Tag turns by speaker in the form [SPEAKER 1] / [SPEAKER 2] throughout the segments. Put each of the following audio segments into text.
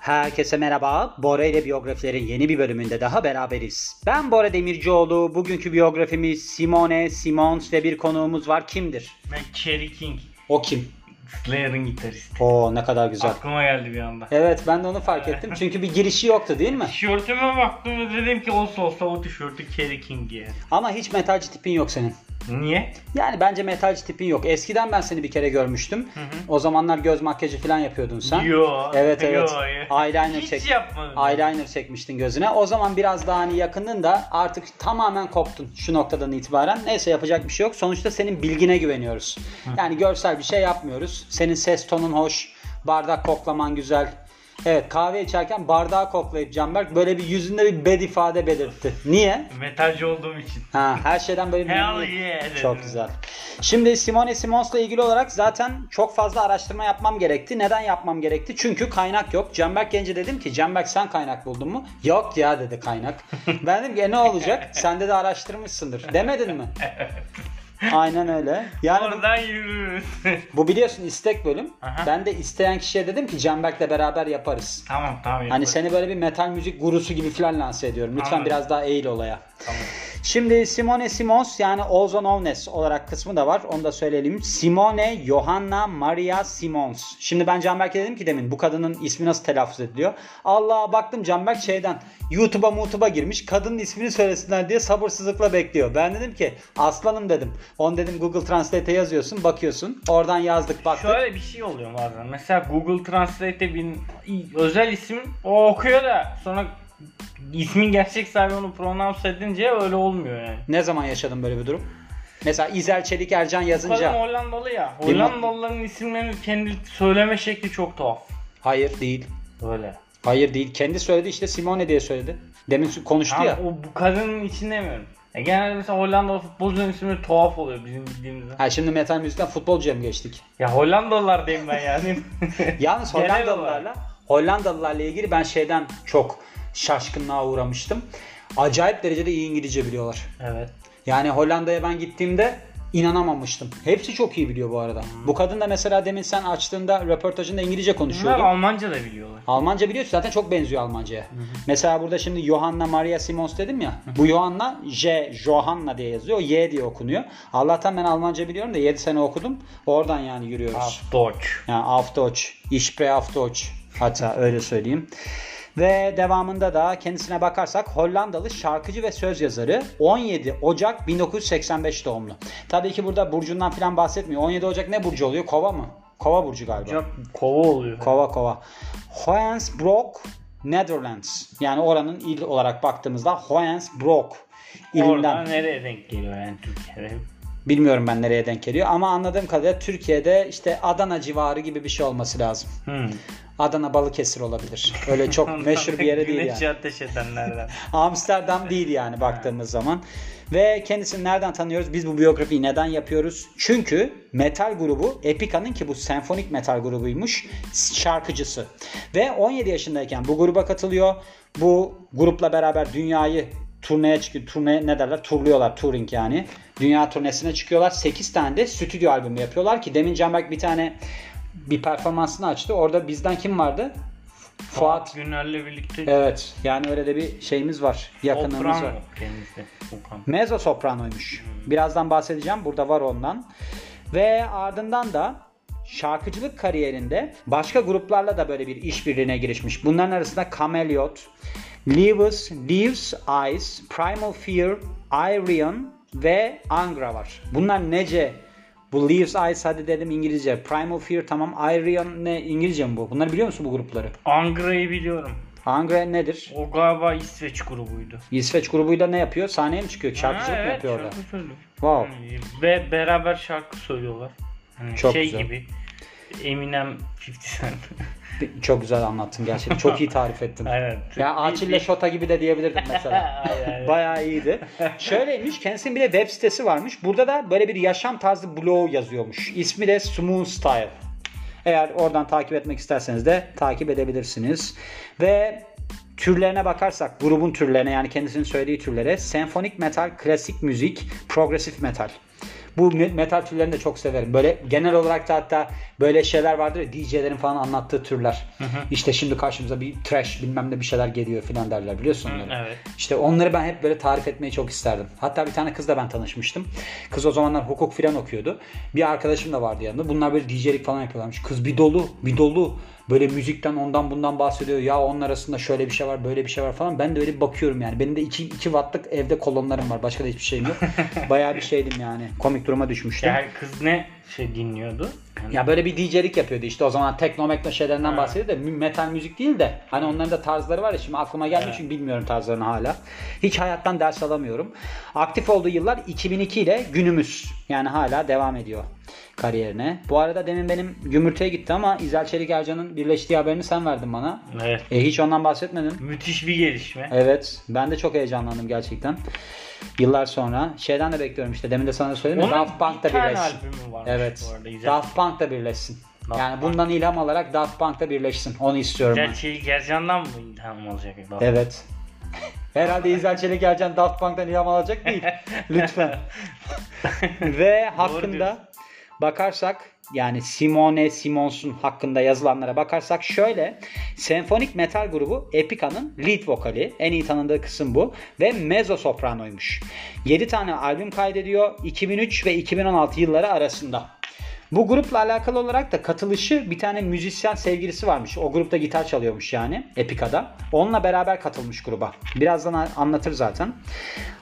[SPEAKER 1] Herkese merhaba. Bora ile biyografilerin yeni bir bölümünde daha beraberiz. Ben Bora Demircioğlu. Bugünkü biyografimiz Simone, Simons ve bir konuğumuz var. Kimdir?
[SPEAKER 2] Ben Cherry King.
[SPEAKER 1] O kim?
[SPEAKER 2] Slayer'ın gitaristi.
[SPEAKER 1] Oo ne kadar güzel.
[SPEAKER 2] Aklıma geldi bir anda.
[SPEAKER 1] Evet ben de onu fark ettim. Çünkü bir girişi yoktu değil mi?
[SPEAKER 2] Tişörtüme baktım ve dedim ki olsa olsa o tişörtü Cherry King giyer.
[SPEAKER 1] Ama hiç metalci tipin yok senin.
[SPEAKER 2] Niye?
[SPEAKER 1] Yani bence metalci tipin yok. Eskiden ben seni bir kere görmüştüm. O zamanlar göz makyajı falan yapıyordun sen.
[SPEAKER 2] Yo.
[SPEAKER 1] Evet evet.
[SPEAKER 2] Yo, ya.
[SPEAKER 1] Eyeliner
[SPEAKER 2] Hiç
[SPEAKER 1] çek.
[SPEAKER 2] yapmadım.
[SPEAKER 1] Eyeliner çekmiştin gözüne. O zaman biraz daha hani yakındın da artık tamamen koptun şu noktadan itibaren. Neyse yapacak bir şey yok. Sonuçta senin bilgine güveniyoruz. Yani görsel bir şey yapmıyoruz. Senin ses tonun hoş. Bardak koklaman güzel. Evet kahve içerken bardağı koklayıp Canberk böyle bir yüzünde bir bed ifade belirtti. Niye?
[SPEAKER 2] Metalci olduğum için.
[SPEAKER 1] Ha, her şeyden böyle bir
[SPEAKER 2] Hell yeah dedim.
[SPEAKER 1] Çok güzel. Şimdi Simone Simons'la ilgili olarak zaten çok fazla araştırma yapmam gerekti. Neden yapmam gerekti? Çünkü kaynak yok. Canberk Genci dedim ki Canberk sen kaynak buldun mu? Yok ya dedi kaynak. ben dedim ki "E ne olacak? Sende de araştırmışsındır. Demedin mi? Aynen öyle. Yani bu-
[SPEAKER 2] Oradan yürürüz.
[SPEAKER 1] bu biliyorsun istek bölüm.
[SPEAKER 2] Aha.
[SPEAKER 1] Ben de isteyen kişiye dedim ki Canberk'le beraber yaparız.
[SPEAKER 2] tamam tamam. yaparım.
[SPEAKER 1] Hani seni böyle bir metal müzik gurusu gibi falan lanse ediyorum. Lütfen
[SPEAKER 2] Anladım.
[SPEAKER 1] biraz daha eğil olaya.
[SPEAKER 2] Tamam.
[SPEAKER 1] Şimdi Simone Simons yani Ozan Ovnes olarak kısmı da var. Onu da söyleyelim. Simone Johanna Maria Simons. Şimdi ben Canberk'e dedim ki demin bu kadının ismi nasıl telaffuz ediliyor? Allah'a baktım Canberk şeyden YouTube'a mutuba girmiş. Kadının ismini söylesinler diye sabırsızlıkla bekliyor. Ben dedim ki aslanım dedim. Onu dedim Google Translate'e yazıyorsun bakıyorsun. Oradan yazdık baktık.
[SPEAKER 2] Şöyle bir şey oluyor bazen. Mesela Google Translate'e bir özel isim o okuyor da sonra ismin gerçek sahibi onu pronounce edince öyle olmuyor yani.
[SPEAKER 1] Ne zaman yaşadın böyle bir durum? Mesela İzel Çelik Ercan
[SPEAKER 2] Kadın
[SPEAKER 1] yazınca.
[SPEAKER 2] Hollandalı ya. Hollandalıların isimlerini kendi söyleme şekli çok tuhaf.
[SPEAKER 1] Hayır değil.
[SPEAKER 2] Böyle.
[SPEAKER 1] Hayır değil. Kendi söyledi işte Simone diye söyledi. Demin sü- konuştu
[SPEAKER 2] Ama
[SPEAKER 1] ya.
[SPEAKER 2] o bu kadının için demiyorum. E genelde mesela Hollandalı futbolcuların isimleri tuhaf oluyor bizim bildiğimizden.
[SPEAKER 1] Ha şimdi metal müzikten futbolcuya mı geçtik?
[SPEAKER 2] Ya Hollandalılar diyeyim ben yani.
[SPEAKER 1] Yalnız
[SPEAKER 2] Genel
[SPEAKER 1] Hollandalılarla Hollandalılarla ilgili ben şeyden çok şaşkınlığa uğramıştım. Acayip derecede iyi İngilizce biliyorlar.
[SPEAKER 2] evet.
[SPEAKER 1] Yani Hollanda'ya ben gittiğimde inanamamıştım. Hepsi çok iyi biliyor bu arada. Bu kadın da mesela demin sen açtığında röportajında İngilizce
[SPEAKER 2] Bunlar
[SPEAKER 1] konuşuyordu.
[SPEAKER 2] Almanca da biliyorlar.
[SPEAKER 1] Almanca biliyorsun zaten çok benziyor Almanca'ya. Mesela burada şimdi Johanna Maria Simons dedim ya. Bu Johanna J, Johanna diye yazıyor. Y diye okunuyor. Allah'tan ben Almanca biliyorum da 7 sene okudum. Oradan yani yürüyoruz.
[SPEAKER 2] Deutsch.
[SPEAKER 1] Yani auf Deutsch, ich spreche auf Deutsch. Hatta öyle söyleyeyim. Ve devamında da kendisine bakarsak Hollandalı şarkıcı ve söz yazarı 17 Ocak 1985 doğumlu. Tabii ki burada burcundan falan bahsetmiyor. 17 Ocak ne burcu oluyor? Kova mı? Kova burcu galiba.
[SPEAKER 2] Çok kova oluyor.
[SPEAKER 1] Kova kova. Hoensbroek, Netherlands. Yani oranın il olarak baktığımızda Hoensbroek ilinden.
[SPEAKER 2] Oradan nereye denk geliyor yani Türkiye'de?
[SPEAKER 1] Bilmiyorum ben nereye denk geliyor ama anladığım kadarıyla Türkiye'de işte Adana civarı gibi bir şey olması lazım.
[SPEAKER 2] Hmm.
[SPEAKER 1] Adana Balıkesir olabilir. Öyle çok meşhur bir yere değil yani.
[SPEAKER 2] Güneşi ateş edenlerden.
[SPEAKER 1] Amsterdam değil yani baktığımız zaman. Ve kendisini nereden tanıyoruz? Biz bu biyografiyi neden yapıyoruz? Çünkü metal grubu Epica'nın ki bu senfonik metal grubuymuş şarkıcısı. Ve 17 yaşındayken bu gruba katılıyor. Bu grupla beraber dünyayı turneye çıkıyor. Turne ne derler? Turluyorlar. Touring yani. Dünya turnesine çıkıyorlar. 8 tane de stüdyo albümü yapıyorlar ki demin Canberk bir tane bir performansını açtı. Orada bizden kim vardı? Fuat
[SPEAKER 2] Fuat Güner'le birlikte
[SPEAKER 1] Evet. Yani öyle de bir şeyimiz var. Yakınımız
[SPEAKER 2] Oprah
[SPEAKER 1] var.
[SPEAKER 2] mı kendisi? Oprah.
[SPEAKER 1] Mezzo sopranoymuş. Birazdan bahsedeceğim. Burada var ondan. Ve ardından da şarkıcılık kariyerinde başka gruplarla da böyle bir işbirliğine girişmiş. Bunların arasında Cameliot, Leaves, Leaves Eyes, Primal Fear, Irion ve Angra var. Bunlar nece bu Leaves Eyes hadi dedim İngilizce. Primal Fear tamam. Irion ne İngilizce mi bu? Bunları biliyor musun bu grupları?
[SPEAKER 2] Angra'yı biliyorum.
[SPEAKER 1] Angra nedir?
[SPEAKER 2] O galiba İsveç grubuydu.
[SPEAKER 1] İsveç grubuyla ne yapıyor? Sahneye mi çıkıyor? Şarkıcılık
[SPEAKER 2] Ha,
[SPEAKER 1] mı
[SPEAKER 2] evet,
[SPEAKER 1] yapıyor orada?
[SPEAKER 2] şarkı söylüyor.
[SPEAKER 1] Wow.
[SPEAKER 2] Yani Ve beraber şarkı söylüyorlar. Hani
[SPEAKER 1] Çok
[SPEAKER 2] şey
[SPEAKER 1] güzel.
[SPEAKER 2] gibi. Eminem 50 Cent.
[SPEAKER 1] Bir- Çok güzel anlattın gerçekten. Çok iyi tarif ettin.
[SPEAKER 2] Aynen.
[SPEAKER 1] Ya Açille Şota gibi de diyebilirdim mesela.
[SPEAKER 2] Aynen.
[SPEAKER 1] Bayağı iyiydi. Şöyleymiş kendisinin bir de web sitesi varmış. Burada da böyle bir yaşam tarzı blog yazıyormuş. İsmi de Smooth Style. Eğer oradan takip etmek isterseniz de takip edebilirsiniz. Ve türlerine bakarsak grubun türlerine yani kendisinin söylediği türlere senfonik metal, klasik müzik, progresif metal. Bu me- metal türlerini de çok severim. Böyle genel olarak da hatta böyle şeyler vardır ya DJ'lerin falan anlattığı türler. İşte şimdi karşımıza bir trash bilmem ne bir şeyler geliyor filan derler biliyorsun onları.
[SPEAKER 2] Evet.
[SPEAKER 1] İşte onları ben hep böyle tarif etmeyi çok isterdim. Hatta bir tane kızla ben tanışmıştım. Kız o zamanlar hukuk filan okuyordu. Bir arkadaşım da vardı yanında. Bunlar böyle DJ'lik falan yapıyorlarmış. Kız bir dolu, bir dolu. Böyle müzikten ondan bundan bahsediyor. Ya onun arasında şöyle bir şey var, böyle bir şey var falan. Ben de öyle bir bakıyorum yani. Benim de 2 2 wattlık evde kolonlarım var. Başka da hiçbir şeyim yok. Bayağı bir şeydim yani. Komik duruma düşmüştüm.
[SPEAKER 2] Yani kız ne şey dinliyordu? Hani, Yani
[SPEAKER 1] Ya böyle bir DJ'lik yapıyordu işte o zaman tekno mekno şeylerinden
[SPEAKER 2] Ha.
[SPEAKER 1] bahsediyor da mü- metal müzik değil de hani onların da tarzları var ya şimdi aklıma gelmiyor çünkü bilmiyorum tarzlarını hala. Hiç hayattan ders alamıyorum. Aktif olduğu yıllar 2002 ile günümüz yani hala devam ediyor kariyerine. Bu arada demin benim gümürtüye gitti ama İzel Çelik Ercan'ın birleştiği haberini sen verdin bana.
[SPEAKER 2] Evet.
[SPEAKER 1] E, hiç ondan bahsetmedin.
[SPEAKER 2] Müthiş bir gelişme.
[SPEAKER 1] Evet ben de çok heyecanlandım gerçekten. Yıllar sonra şeyden de bekliyorum işte demin de sana da söyledim ya,
[SPEAKER 2] Onun
[SPEAKER 1] Daft Punk da
[SPEAKER 2] bir tane
[SPEAKER 1] birleşsin.
[SPEAKER 2] albümü varmış
[SPEAKER 1] Evet.
[SPEAKER 2] bu arada. İzel,
[SPEAKER 1] Daft Punk da birleşsin.
[SPEAKER 2] Daft
[SPEAKER 1] yani
[SPEAKER 2] Punk.
[SPEAKER 1] bundan ilham alarak Daft Punk da birleşsin. Onu istiyorum
[SPEAKER 2] İzel
[SPEAKER 1] ben.
[SPEAKER 2] Çelik Ercan'dan mı ilham olacak? Daft
[SPEAKER 1] Evet. Herhalde İzel Çelik Ercan Daft Punk'tan ilham alacak değil. Lütfen. Ve hakkında
[SPEAKER 2] diyorsun.
[SPEAKER 1] bakarsak yani Simone Simons'un hakkında yazılanlara bakarsak şöyle senfonik metal grubu Epica'nın lead vokali en iyi tanındığı kısım bu ve mezzo sopranoymuş. 7 tane albüm kaydediyor 2003 ve 2016 yılları arasında. Bu grupla alakalı olarak da katılışı bir tane müzisyen sevgilisi varmış. O grupta gitar çalıyormuş yani Epica'da. Onunla beraber katılmış gruba. Birazdan a- anlatır zaten.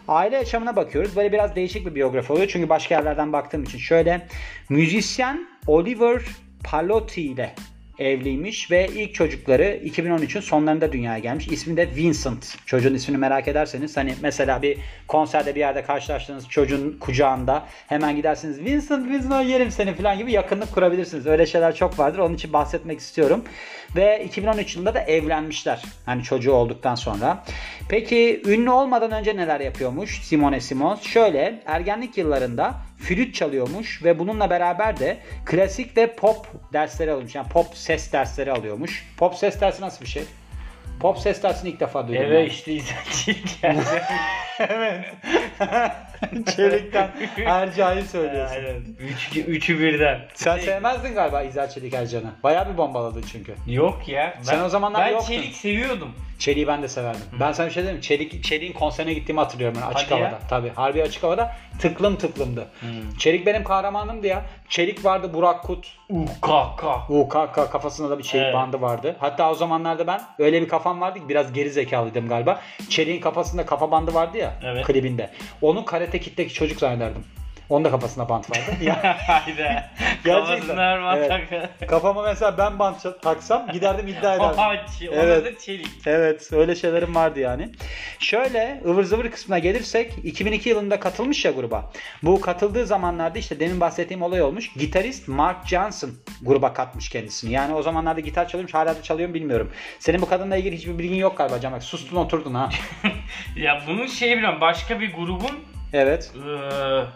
[SPEAKER 1] Aile yaşamına bakıyoruz. Böyle biraz değişik bir biyografi oluyor. Çünkü başka yerlerden baktığım için. Şöyle müzisyen Oliver Palotti ile evliymiş ve ilk çocukları 2013'ün sonlarında dünyaya gelmiş. İsmi de Vincent. Çocuğun ismini merak ederseniz hani mesela bir konserde bir yerde karşılaştığınız çocuğun kucağında hemen gidersiniz Vincent Vincent yerim seni falan gibi yakınlık kurabilirsiniz. Öyle şeyler çok vardır. Onun için bahsetmek istiyorum. Ve 2013 yılında da evlenmişler. Hani çocuğu olduktan sonra. Peki ünlü olmadan önce neler yapıyormuş Simone Simons? Şöyle ergenlik yıllarında flüt çalıyormuş ve bununla beraber de klasik ve pop dersleri alıyormuş. Yani pop ses dersleri alıyormuş. Pop ses dersi nasıl bir şey? Pop ses dersini ilk defa duydum.
[SPEAKER 2] Evet işte İzel Çelik Ercan.
[SPEAKER 1] ben. Çelik'ten Ercan'ı
[SPEAKER 2] Aynen. Üç, üçü birden.
[SPEAKER 1] Sen
[SPEAKER 2] Şey-
[SPEAKER 1] sevmezdin galiba İzel Çelik Ercan'ı. Bayağı bir bombaladın çünkü.
[SPEAKER 2] Yok ya.
[SPEAKER 1] Sen o zamanlar
[SPEAKER 2] ben
[SPEAKER 1] yoktun.
[SPEAKER 2] Çelik seviyordum.
[SPEAKER 1] Çelik'i ben de severdim. Ben sana bir şey diyeyim mi? Çelik, Çelik'in konserine gittiğimi hatırlıyorum ben açık
[SPEAKER 2] Hadi ya.
[SPEAKER 1] havada. Tabii harbi açık havada tıklım tıklımdı. Çelik benim kahramanımdı ya. Çelik vardı Burak Kut.
[SPEAKER 2] Uh kaka.
[SPEAKER 1] UKK kafasında da bir Çelik
[SPEAKER 2] Evet.
[SPEAKER 1] bandı vardı. Hatta o zamanlarda ben öyle bir kafam vardı ki biraz geri zekalıydım galiba. Çelik'in kafasında kafa bandı vardı ya
[SPEAKER 2] Evet.
[SPEAKER 1] klibinde. Onu karate kitteki çocuk zannederdim. Onun da kafasında bant vardı. ya
[SPEAKER 2] Hayda. Kafasına Erman
[SPEAKER 1] Evet.
[SPEAKER 2] Taka.
[SPEAKER 1] kafama mesela ben bant taksam giderdim iddia ederdim.
[SPEAKER 2] Oha, ç- ona
[SPEAKER 1] Evet.
[SPEAKER 2] da Çelik.
[SPEAKER 1] Evet öyle şeylerim vardı yani. Şöyle ıvır zıvır kısmına gelirsek 2002 yılında katılmış ya gruba. Bu katıldığı zamanlarda işte demin bahsettiğim olay olmuş. Gitarist Mark Johnson gruba katmış kendisini. Yani o zamanlarda gitar çalıyormuş hala da çalıyor mu bilmiyorum. Senin bu kadınla ilgili hiçbir bilgin yok galiba Can. Bak sustun oturdun ha.
[SPEAKER 2] Ya bunun şeyi biliyorum. Başka bir grubun
[SPEAKER 1] Evet.
[SPEAKER 2] ıı,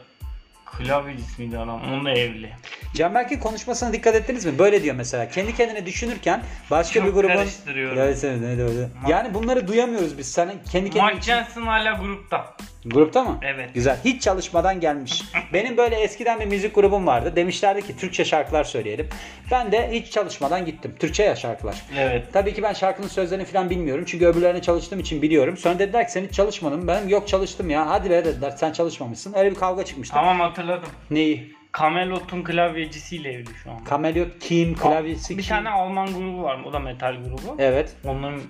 [SPEAKER 2] klavyecisi miydi adam? Onunla evli.
[SPEAKER 1] Canberk'in konuşmasına dikkat ettiniz mi? Böyle diyor mesela. Kendi kendine düşünürken başka
[SPEAKER 2] Çok
[SPEAKER 1] bir grubun...
[SPEAKER 2] karıştırıyorum.
[SPEAKER 1] Evet, evet, evet, evet. Yani bunları duyamıyoruz biz. Sen kendi kendine...
[SPEAKER 2] Mark Johnson hala grupta.
[SPEAKER 1] Grupta mı?
[SPEAKER 2] Evet.
[SPEAKER 1] Güzel. Hiç çalışmadan gelmiş. Benim böyle eskiden bir müzik grubum vardı. Demişlerdi ki Türkçe şarkılar söyleyelim. Ben de hiç çalışmadan gittim. Türkçe ya şarkılar.
[SPEAKER 2] Evet.
[SPEAKER 1] Tabii ki ben şarkının sözlerini falan bilmiyorum. Çünkü öbürlerine çalıştığım için biliyorum. Sonra dediler ki sen hiç çalışmadın. mı?" Ben yok çalıştım ya. Hadi be dediler sen çalışmamışsın. Öyle bir kavga çıkmıştı.
[SPEAKER 2] Tamam hatırladım.
[SPEAKER 1] Neyi?
[SPEAKER 2] Camelot'un klavyecisiyle evli şu an.
[SPEAKER 1] Kamelyot kim? Klavyesi kim?
[SPEAKER 2] Bir tane Alman grubu var. O da metal grubu.
[SPEAKER 1] Evet.
[SPEAKER 2] Onların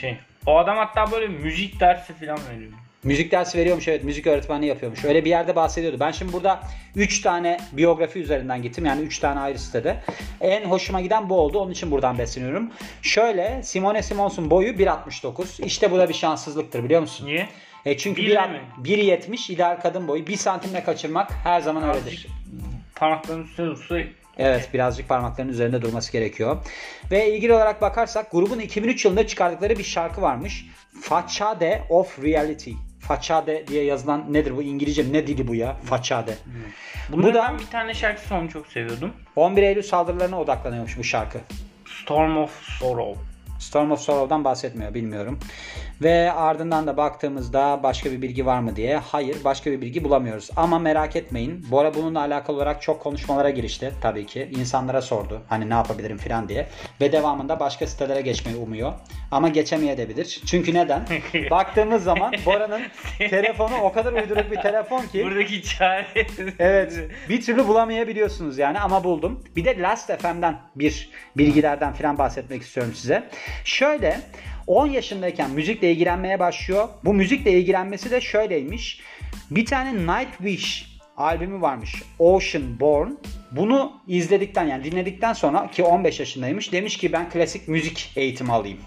[SPEAKER 2] şey. O adam hatta böyle müzik dersi falan veriyor.
[SPEAKER 1] Müzik dersi veriyormuş evet müzik öğretmenliği yapıyormuş. Öyle bir yerde bahsediyordu. Ben şimdi burada 3 tane biyografi üzerinden gittim. Yani 3 tane ayrı sitede. En hoşuma giden bu oldu. Onun için buradan besleniyorum. Şöyle Simone Simons'un boyu 1.69. İşte bu da bir şanssızlıktır biliyor musun?
[SPEAKER 2] Niye?
[SPEAKER 1] E çünkü
[SPEAKER 2] Bir
[SPEAKER 1] bir-
[SPEAKER 2] mi?
[SPEAKER 1] 1.70 ideal kadın boyu. 1 santimle kaçırmak her zaman öyledir.
[SPEAKER 2] Azıcık Parmaklarının üstüne tutsa
[SPEAKER 1] Evet birazcık parmaklarının üzerinde durması gerekiyor. Ve ilgili olarak bakarsak grubun 2003 yılında çıkardıkları bir şarkı varmış. Facade of Reality. Facade diye yazılan nedir bu İngilizce ne dili bu ya? Facade. Bu
[SPEAKER 2] Bunun
[SPEAKER 1] da-
[SPEAKER 2] ben bir tane şarkısı onu çok seviyordum.
[SPEAKER 1] 11 Eylül saldırılarına odaklanıyormuş bu şarkı.
[SPEAKER 2] Storm of Sorrow.
[SPEAKER 1] Storm of Sorrow'dan bahsetmiyor bilmiyorum. Ve ardından da baktığımızda başka bir bilgi var mı diye. Hayır başka bir bilgi bulamıyoruz. Ama merak etmeyin. Bora bununla alakalı olarak çok konuşmalara girişti tabii ki. İnsanlara sordu hani ne yapabilirim falan diye. Ve devamında başka sitelere geçmeyi umuyor. Ama geçemeyebilir. Çünkü neden? Baktığımız zaman Bora'nın telefonu o kadar uyduruk bir telefon ki.
[SPEAKER 2] Buradaki çare.
[SPEAKER 1] Evet. Bir türlü bulamayabiliyorsunuz yani ama buldum. Bir de Last FM'den bir bilgilerden falan bahsetmek istiyorum size. Şöyle 10 yaşındayken müzikle ilgilenmeye başlıyor. Bu müzikle ilgilenmesi de şöyleymiş. Bir tane Nightwish albümü varmış. Ocean Born. Bunu izledikten yani dinledikten sonra ki 15 yaşındaymış demiş ki ben klasik müzik eğitimi alayım.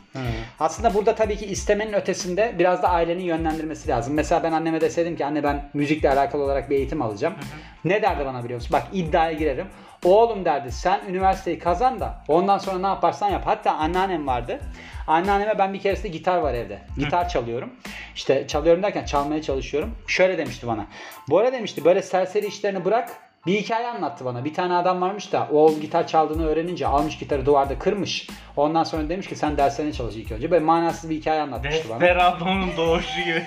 [SPEAKER 1] Aslında burada tabii ki istemenin ötesinde biraz da ailenin yönlendirmesi lazım. Mesela ben anneme deseydim ki anne ben müzikle alakalı olarak bir eğitim alacağım. Ne derdi bana biliyor musun? Bak iddiaya girerim. Oğlum derdi sen üniversiteyi kazan da ondan sonra ne yaparsan yap. Hatta anneannem vardı. Anneanneme ben bir keresinde gitar var evde. Gitar çalıyorum. İşte çalıyorum derken çalmaya çalışıyorum. Şöyle demişti bana. Bora demişti böyle serseri işlerini bırak. Bir hikaye anlattı bana. Bir tane adam varmış da oğul gitar çaldığını öğrenince almış gitarı duvarda kırmış. Ondan sonra demiş ki sen derslerine çalış ilk önce. Böyle manasız bir hikaye anlatmıştı bana.
[SPEAKER 2] Desperado'nun doğuşu gibi.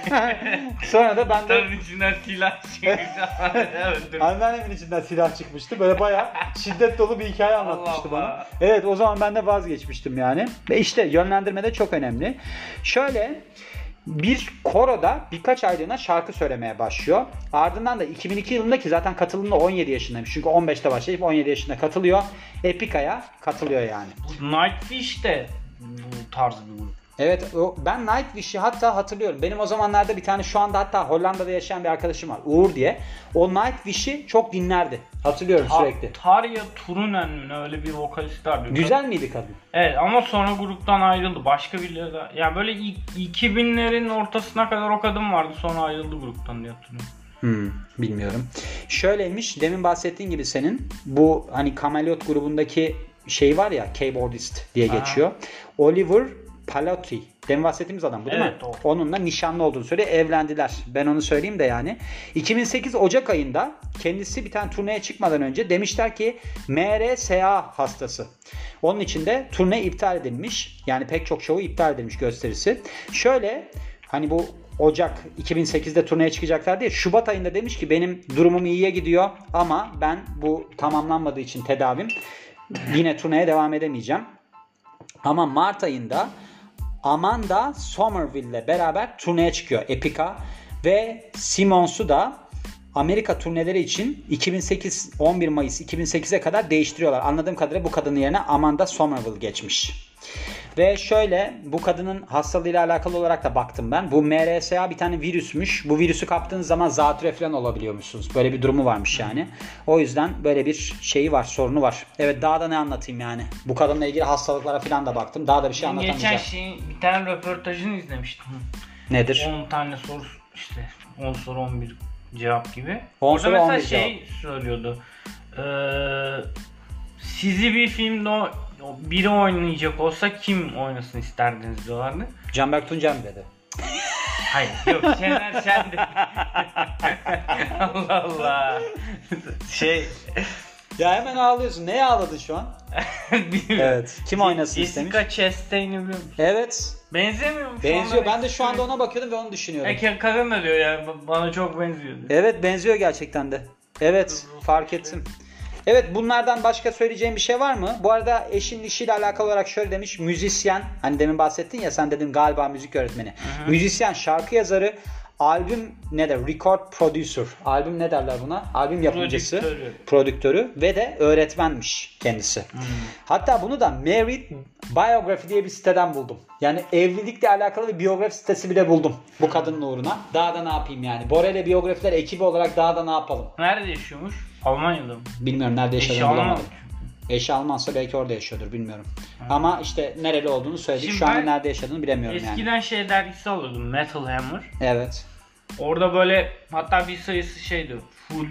[SPEAKER 1] Sonra da ben de
[SPEAKER 2] Tarın içinden silah çıkacağım.
[SPEAKER 1] Anneannemin içinden silah çıkmıştı. Böyle bayağı şiddet dolu bir hikaye anlatmıştı
[SPEAKER 2] Allah
[SPEAKER 1] bana.
[SPEAKER 2] Allah.
[SPEAKER 1] Evet o zaman ben de vazgeçmiştim yani. Ve işte yönlendirme de çok önemli. Şöyle bir koroda birkaç aylığına şarkı söylemeye başlıyor. Ardından da 2002 yılında ki zaten katılımda 17 yaşındaymış. Çünkü 15'te başlayıp 17 yaşında katılıyor. Epica'ya katılıyor yani.
[SPEAKER 2] Nightwish de bu tarz bir grup.
[SPEAKER 1] Evet o- ben Nightwish'i hatta hatırlıyorum. Benim o zamanlarda bir tane şu anda hatta Hollanda'da yaşayan bir arkadaşım var Uğur diye. O Nightwish'i çok dinlerdi. Hatırlıyorum sürekli.
[SPEAKER 2] Ta- Tarya Turunen mi ne, öyle bir vokalist vardı.
[SPEAKER 1] Güzel miydi kadın?
[SPEAKER 2] Evet ama sonra gruptan ayrıldı. Başka birileri de. Ya böyle ilk 2000'lerin ortasına kadar o kadın vardı. Sonra ayrıldı gruptan diye hatırlıyorum.
[SPEAKER 1] Hmm, bilmiyorum. Şöyleymiş demin bahsettiğin gibi senin bu hani Kameleot grubundaki şey var ya keyboardist diye
[SPEAKER 2] Aha.
[SPEAKER 1] geçiyor. Oliver Palotti. Demin bahsettiğimiz adam bu değil
[SPEAKER 2] Evet,
[SPEAKER 1] mi?
[SPEAKER 2] o.
[SPEAKER 1] Onunla nişanlı olduğunu söyle evlendiler. Ben onu söyleyeyim de yani. 2008 Ocak ayında kendisi bir tane turneye çıkmadan önce demişler ki MRSA hastası. Onun için de turne iptal edilmiş. Yani pek çok şovu iptal edilmiş gösterisi. Şöyle hani bu Ocak 2008'de turneye çıkacaklar diye Şubat ayında demiş ki benim durumum iyiye gidiyor ama ben bu tamamlanmadığı için tedavim yine turneye devam edemeyeceğim. Ama Mart ayında Amanda Somerville'le beraber turneye çıkıyor Epica ve Simons'u da Amerika turneleri için 2008 11 Mayıs 2008'e kadar değiştiriyorlar. Anladığım kadarıyla bu kadının yerine Amanda Somerville geçmiş. Ve şöyle bu kadının hastalığıyla alakalı olarak da baktım ben. Bu MRSA bir tane virüsmüş. Bu virüsü kaptığınız zaman zatüre falan olabiliyormuşsunuz. Böyle bir durumu varmış yani. O yüzden böyle bir şeyi var, sorunu var. Evet daha da ne anlatayım yani. Bu kadınla ilgili hastalıklara falan da baktım. Daha da bir şey
[SPEAKER 2] Ben geçen
[SPEAKER 1] anlatamayacağım.
[SPEAKER 2] şeyin bir tane röportajını izlemiştim.
[SPEAKER 1] Nedir?
[SPEAKER 2] 10 tane soru işte 10 soru 11 cevap gibi.
[SPEAKER 1] 10
[SPEAKER 2] Orada
[SPEAKER 1] soru,
[SPEAKER 2] mesela
[SPEAKER 1] 11
[SPEAKER 2] şey söylüyordu. Ee, sizi bir filmde o- o- biri oynayacak olsa kim oynasın isterdiniz diyorlardı.
[SPEAKER 1] Canberk Tuncay mı dedi?
[SPEAKER 2] Hayır yok Şener Şen dedi. Allah Allah. Şey
[SPEAKER 1] Ya hemen ağlıyorsun. Neye ağladın şu an?
[SPEAKER 2] bilmiyorum.
[SPEAKER 1] Evet. Kim oynasın istemiş?
[SPEAKER 2] Jessica Chastain'i biliyor musun?
[SPEAKER 1] Evet.
[SPEAKER 2] Benzemiyor mu?
[SPEAKER 1] Benziyor.
[SPEAKER 2] Sonra-
[SPEAKER 1] Ben de şu anda ona bakıyordum ve onu düşünüyorum.
[SPEAKER 2] Erkek kadın da diyor ya ba- bana çok benziyor. diyor.
[SPEAKER 1] Evet benziyor gerçekten de. Evet fark ettim. Evet bunlardan başka söyleyeceğim bir şey var mı? Bu arada eşin işiyle alakalı olarak şöyle demiş. Müzisyen hani demin bahsettin ya sen dedin galiba müzik öğretmeni. Müzisyen, şarkı yazarı, albüm ne der? Record producer. Albüm ne derler buna? Albüm yapımcısı.
[SPEAKER 2] Prodüktörü.
[SPEAKER 1] prodüktörü ve de öğretmenmiş kendisi. Hatta bunu da Married Biography diye bir siteden buldum. Yani evlilikle alakalı bir biyografi sitesi bile buldum bu kadının uğruna. Daha da ne yapayım yani. Bora ile biyografiler ekibi olarak daha da ne yapalım?
[SPEAKER 2] Nerede yaşıyormuş? Almanya'da mı?
[SPEAKER 1] Bilmiyorum nerede
[SPEAKER 2] Eşi
[SPEAKER 1] yaşadığını
[SPEAKER 2] Alman.
[SPEAKER 1] bulamadım. Eşi Almansa belki orada yaşıyordur bilmiyorum. Ama işte nereli olduğunu söyledik.
[SPEAKER 2] Şimdi
[SPEAKER 1] Şu anda
[SPEAKER 2] ben
[SPEAKER 1] nerede yaşadığını bilemiyorum yani.
[SPEAKER 2] Eskiden şey dergisi alıyordum Metal Hammer.
[SPEAKER 1] Evet.
[SPEAKER 2] Orada böyle hatta bir sayısı şeydi full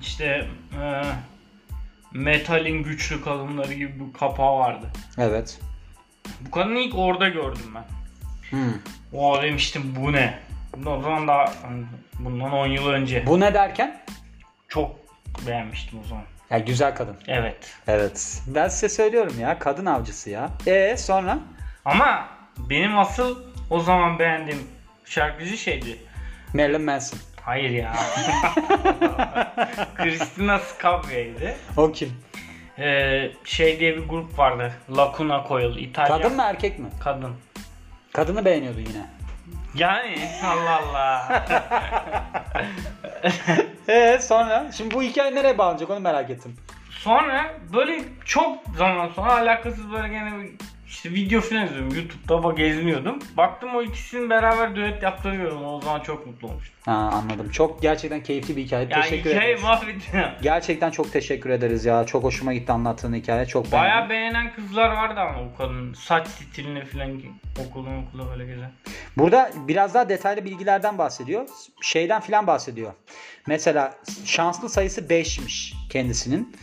[SPEAKER 2] işte e, metalin güçlü kalınları gibi bir kapağı vardı.
[SPEAKER 1] Evet.
[SPEAKER 2] Bu kadını ilk orada gördüm ben.
[SPEAKER 1] Hmm.
[SPEAKER 2] O demiştim bu ne? O zaman daha bundan 10 yıl önce.
[SPEAKER 1] Bu ne derken?
[SPEAKER 2] Çok beğenmiştim o zaman.
[SPEAKER 1] Ya güzel kadın.
[SPEAKER 2] Evet.
[SPEAKER 1] Evet. Ben size söylüyorum ya kadın avcısı ya. E sonra?
[SPEAKER 2] Ama benim asıl o zaman beğendiğim şarkıcı şeydi.
[SPEAKER 1] Marilyn Manson.
[SPEAKER 2] Hayır ya. Christina Scabria'ydı.
[SPEAKER 1] O kim?
[SPEAKER 2] Ee, şey diye bir grup vardı. Lacuna Coil. İtalya.
[SPEAKER 1] Kadın mı erkek mi?
[SPEAKER 2] Kadın.
[SPEAKER 1] Kadını beğeniyordun yine.
[SPEAKER 2] Yani Allah Allah.
[SPEAKER 1] E sonra? Şimdi bu hikaye nereye bağlanacak onu merak ettim.
[SPEAKER 2] sonra böyle çok zaman sonra alakasız böyle gene bir işte video filan izliyorum. Youtube'da bak geziniyordum. Baktım o ikisinin beraber düet yaptığını gördüm. O zaman çok mutlu olmuştum.
[SPEAKER 1] Ha anladım. Çok gerçekten keyifli bir hikaye.
[SPEAKER 2] Yani şey
[SPEAKER 1] teşekkür
[SPEAKER 2] hikaye
[SPEAKER 1] ederiz.
[SPEAKER 2] mahvetti.
[SPEAKER 1] Gerçekten çok teşekkür ederiz ya. Çok hoşuma gitti anlattığın hikaye. Çok beğendim.
[SPEAKER 2] Bayağı beğenen kızlar vardı ama o kadının saç stilini filan okulun okula böyle güzel.
[SPEAKER 1] Burada biraz daha detaylı bilgilerden bahsediyor. Şeyden filan bahsediyor. Mesela şanslı sayısı 5'miş kendisinin.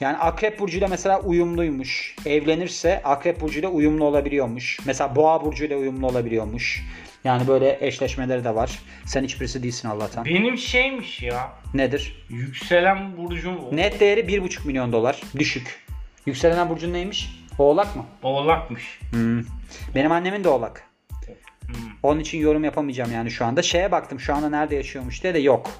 [SPEAKER 1] Yani akrep burcuyla mesela uyumluymuş. Evlenirse akrep burcuyla uyumlu olabiliyormuş. Mesela boğa burcuyla uyumlu olabiliyormuş. Yani böyle eşleşmeleri de var. Sen hiçbirisi değilsin Allah'tan.
[SPEAKER 2] Benim şeymiş ya.
[SPEAKER 1] Nedir?
[SPEAKER 2] Yükselen burcum
[SPEAKER 1] Net değeri 1,5 milyon dolar. Düşük. Yükselen burcun neymiş? Oğlak mı?
[SPEAKER 2] oğlakmış.
[SPEAKER 1] Hmm. Benim annemin de oğlak.
[SPEAKER 2] Hmm.
[SPEAKER 1] Onun için yorum yapamayacağım yani şu anda. Şeye baktım şu anda nerede yaşıyormuş diye de yok.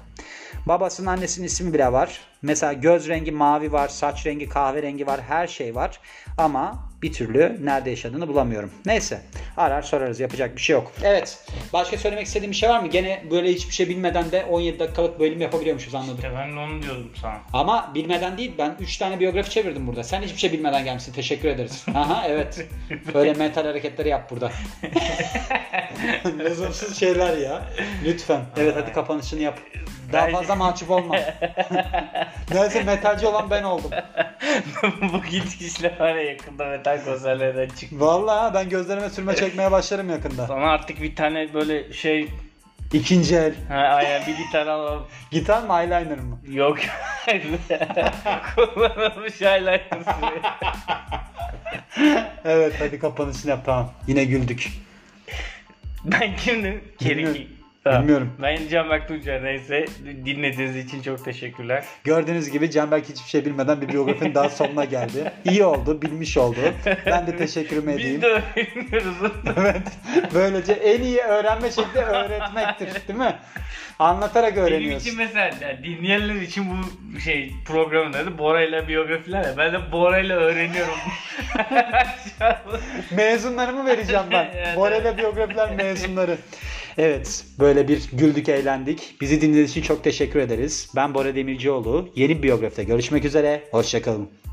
[SPEAKER 1] Babasının annesinin ismi bile var. Mesela göz rengi mavi var, saç rengi kahverengi var, her şey var. Ama bir türlü nerede yaşadığını bulamıyorum. Neyse arar sorarız yapacak bir şey yok. Evet başka söylemek istediğim bir şey var mı? Gene böyle hiçbir şey bilmeden de 17 dakikalık bölüm yapabiliyormuşuz anladım.
[SPEAKER 2] İşte ben de onu diyordum sana.
[SPEAKER 1] Ama bilmeden değil ben 3 tane biyografi çevirdim burada. Sen hiçbir şey bilmeden gelmişsin. Teşekkür ederiz. Aha evet. Böyle mental hareketleri yap burada. Lüzumsuz şeyler ya. Lütfen. Evet hadi kapanışını yap. Daha
[SPEAKER 2] Bence-
[SPEAKER 1] fazla mahcup olma. Neyse metalci olan ben oldum.
[SPEAKER 2] Bu gidişle var ya yakında metal konserlerden çık.
[SPEAKER 1] Vallahi ben gözlerime sürme çekmeye başlarım yakında.
[SPEAKER 2] Sana artık bir tane böyle şey
[SPEAKER 1] İkinci el.
[SPEAKER 2] ha, aynen bir gitar alalım.
[SPEAKER 1] Gitar mı eyeliner mı?
[SPEAKER 2] Yok. Kullanılmış highlighter
[SPEAKER 1] Evet hadi kapanışını yap tamam. Yine güldük.
[SPEAKER 2] Ben kimdim? Kerik.
[SPEAKER 1] Bilmiyorum. Bilmiyorum.
[SPEAKER 2] Ben Can Baktuğca neyse dinlediğiniz için çok teşekkürler.
[SPEAKER 1] Gördüğünüz gibi Canberk hiçbir şey bilmeden bir biyografinin daha sonuna geldi. İyi oldu, bilmiş oldu. Ben de teşekkürümü edeyim.
[SPEAKER 2] Biz de öğreniyoruz.
[SPEAKER 1] Evet. Böylece en iyi öğrenme şekli öğretmektir, değil mi? Anlatarak
[SPEAKER 2] Benim için
[SPEAKER 1] öğreniyorsun.
[SPEAKER 2] mesela yani dinleyenler için bu şey programın adı Bora'yla biyografiler ya. Ben de Bora'yla öğreniyorum.
[SPEAKER 1] Mezunlarımı vereceğim ben.
[SPEAKER 2] Evet.
[SPEAKER 1] Borel'e biyografiler mezunları. Evet, böyle bir güldük, eğlendik. Bizi dinlediğiniz için çok teşekkür ederiz. Ben Bora Demircioğlu. Yeni bir biyografide görüşmek üzere. Hoşçakalın.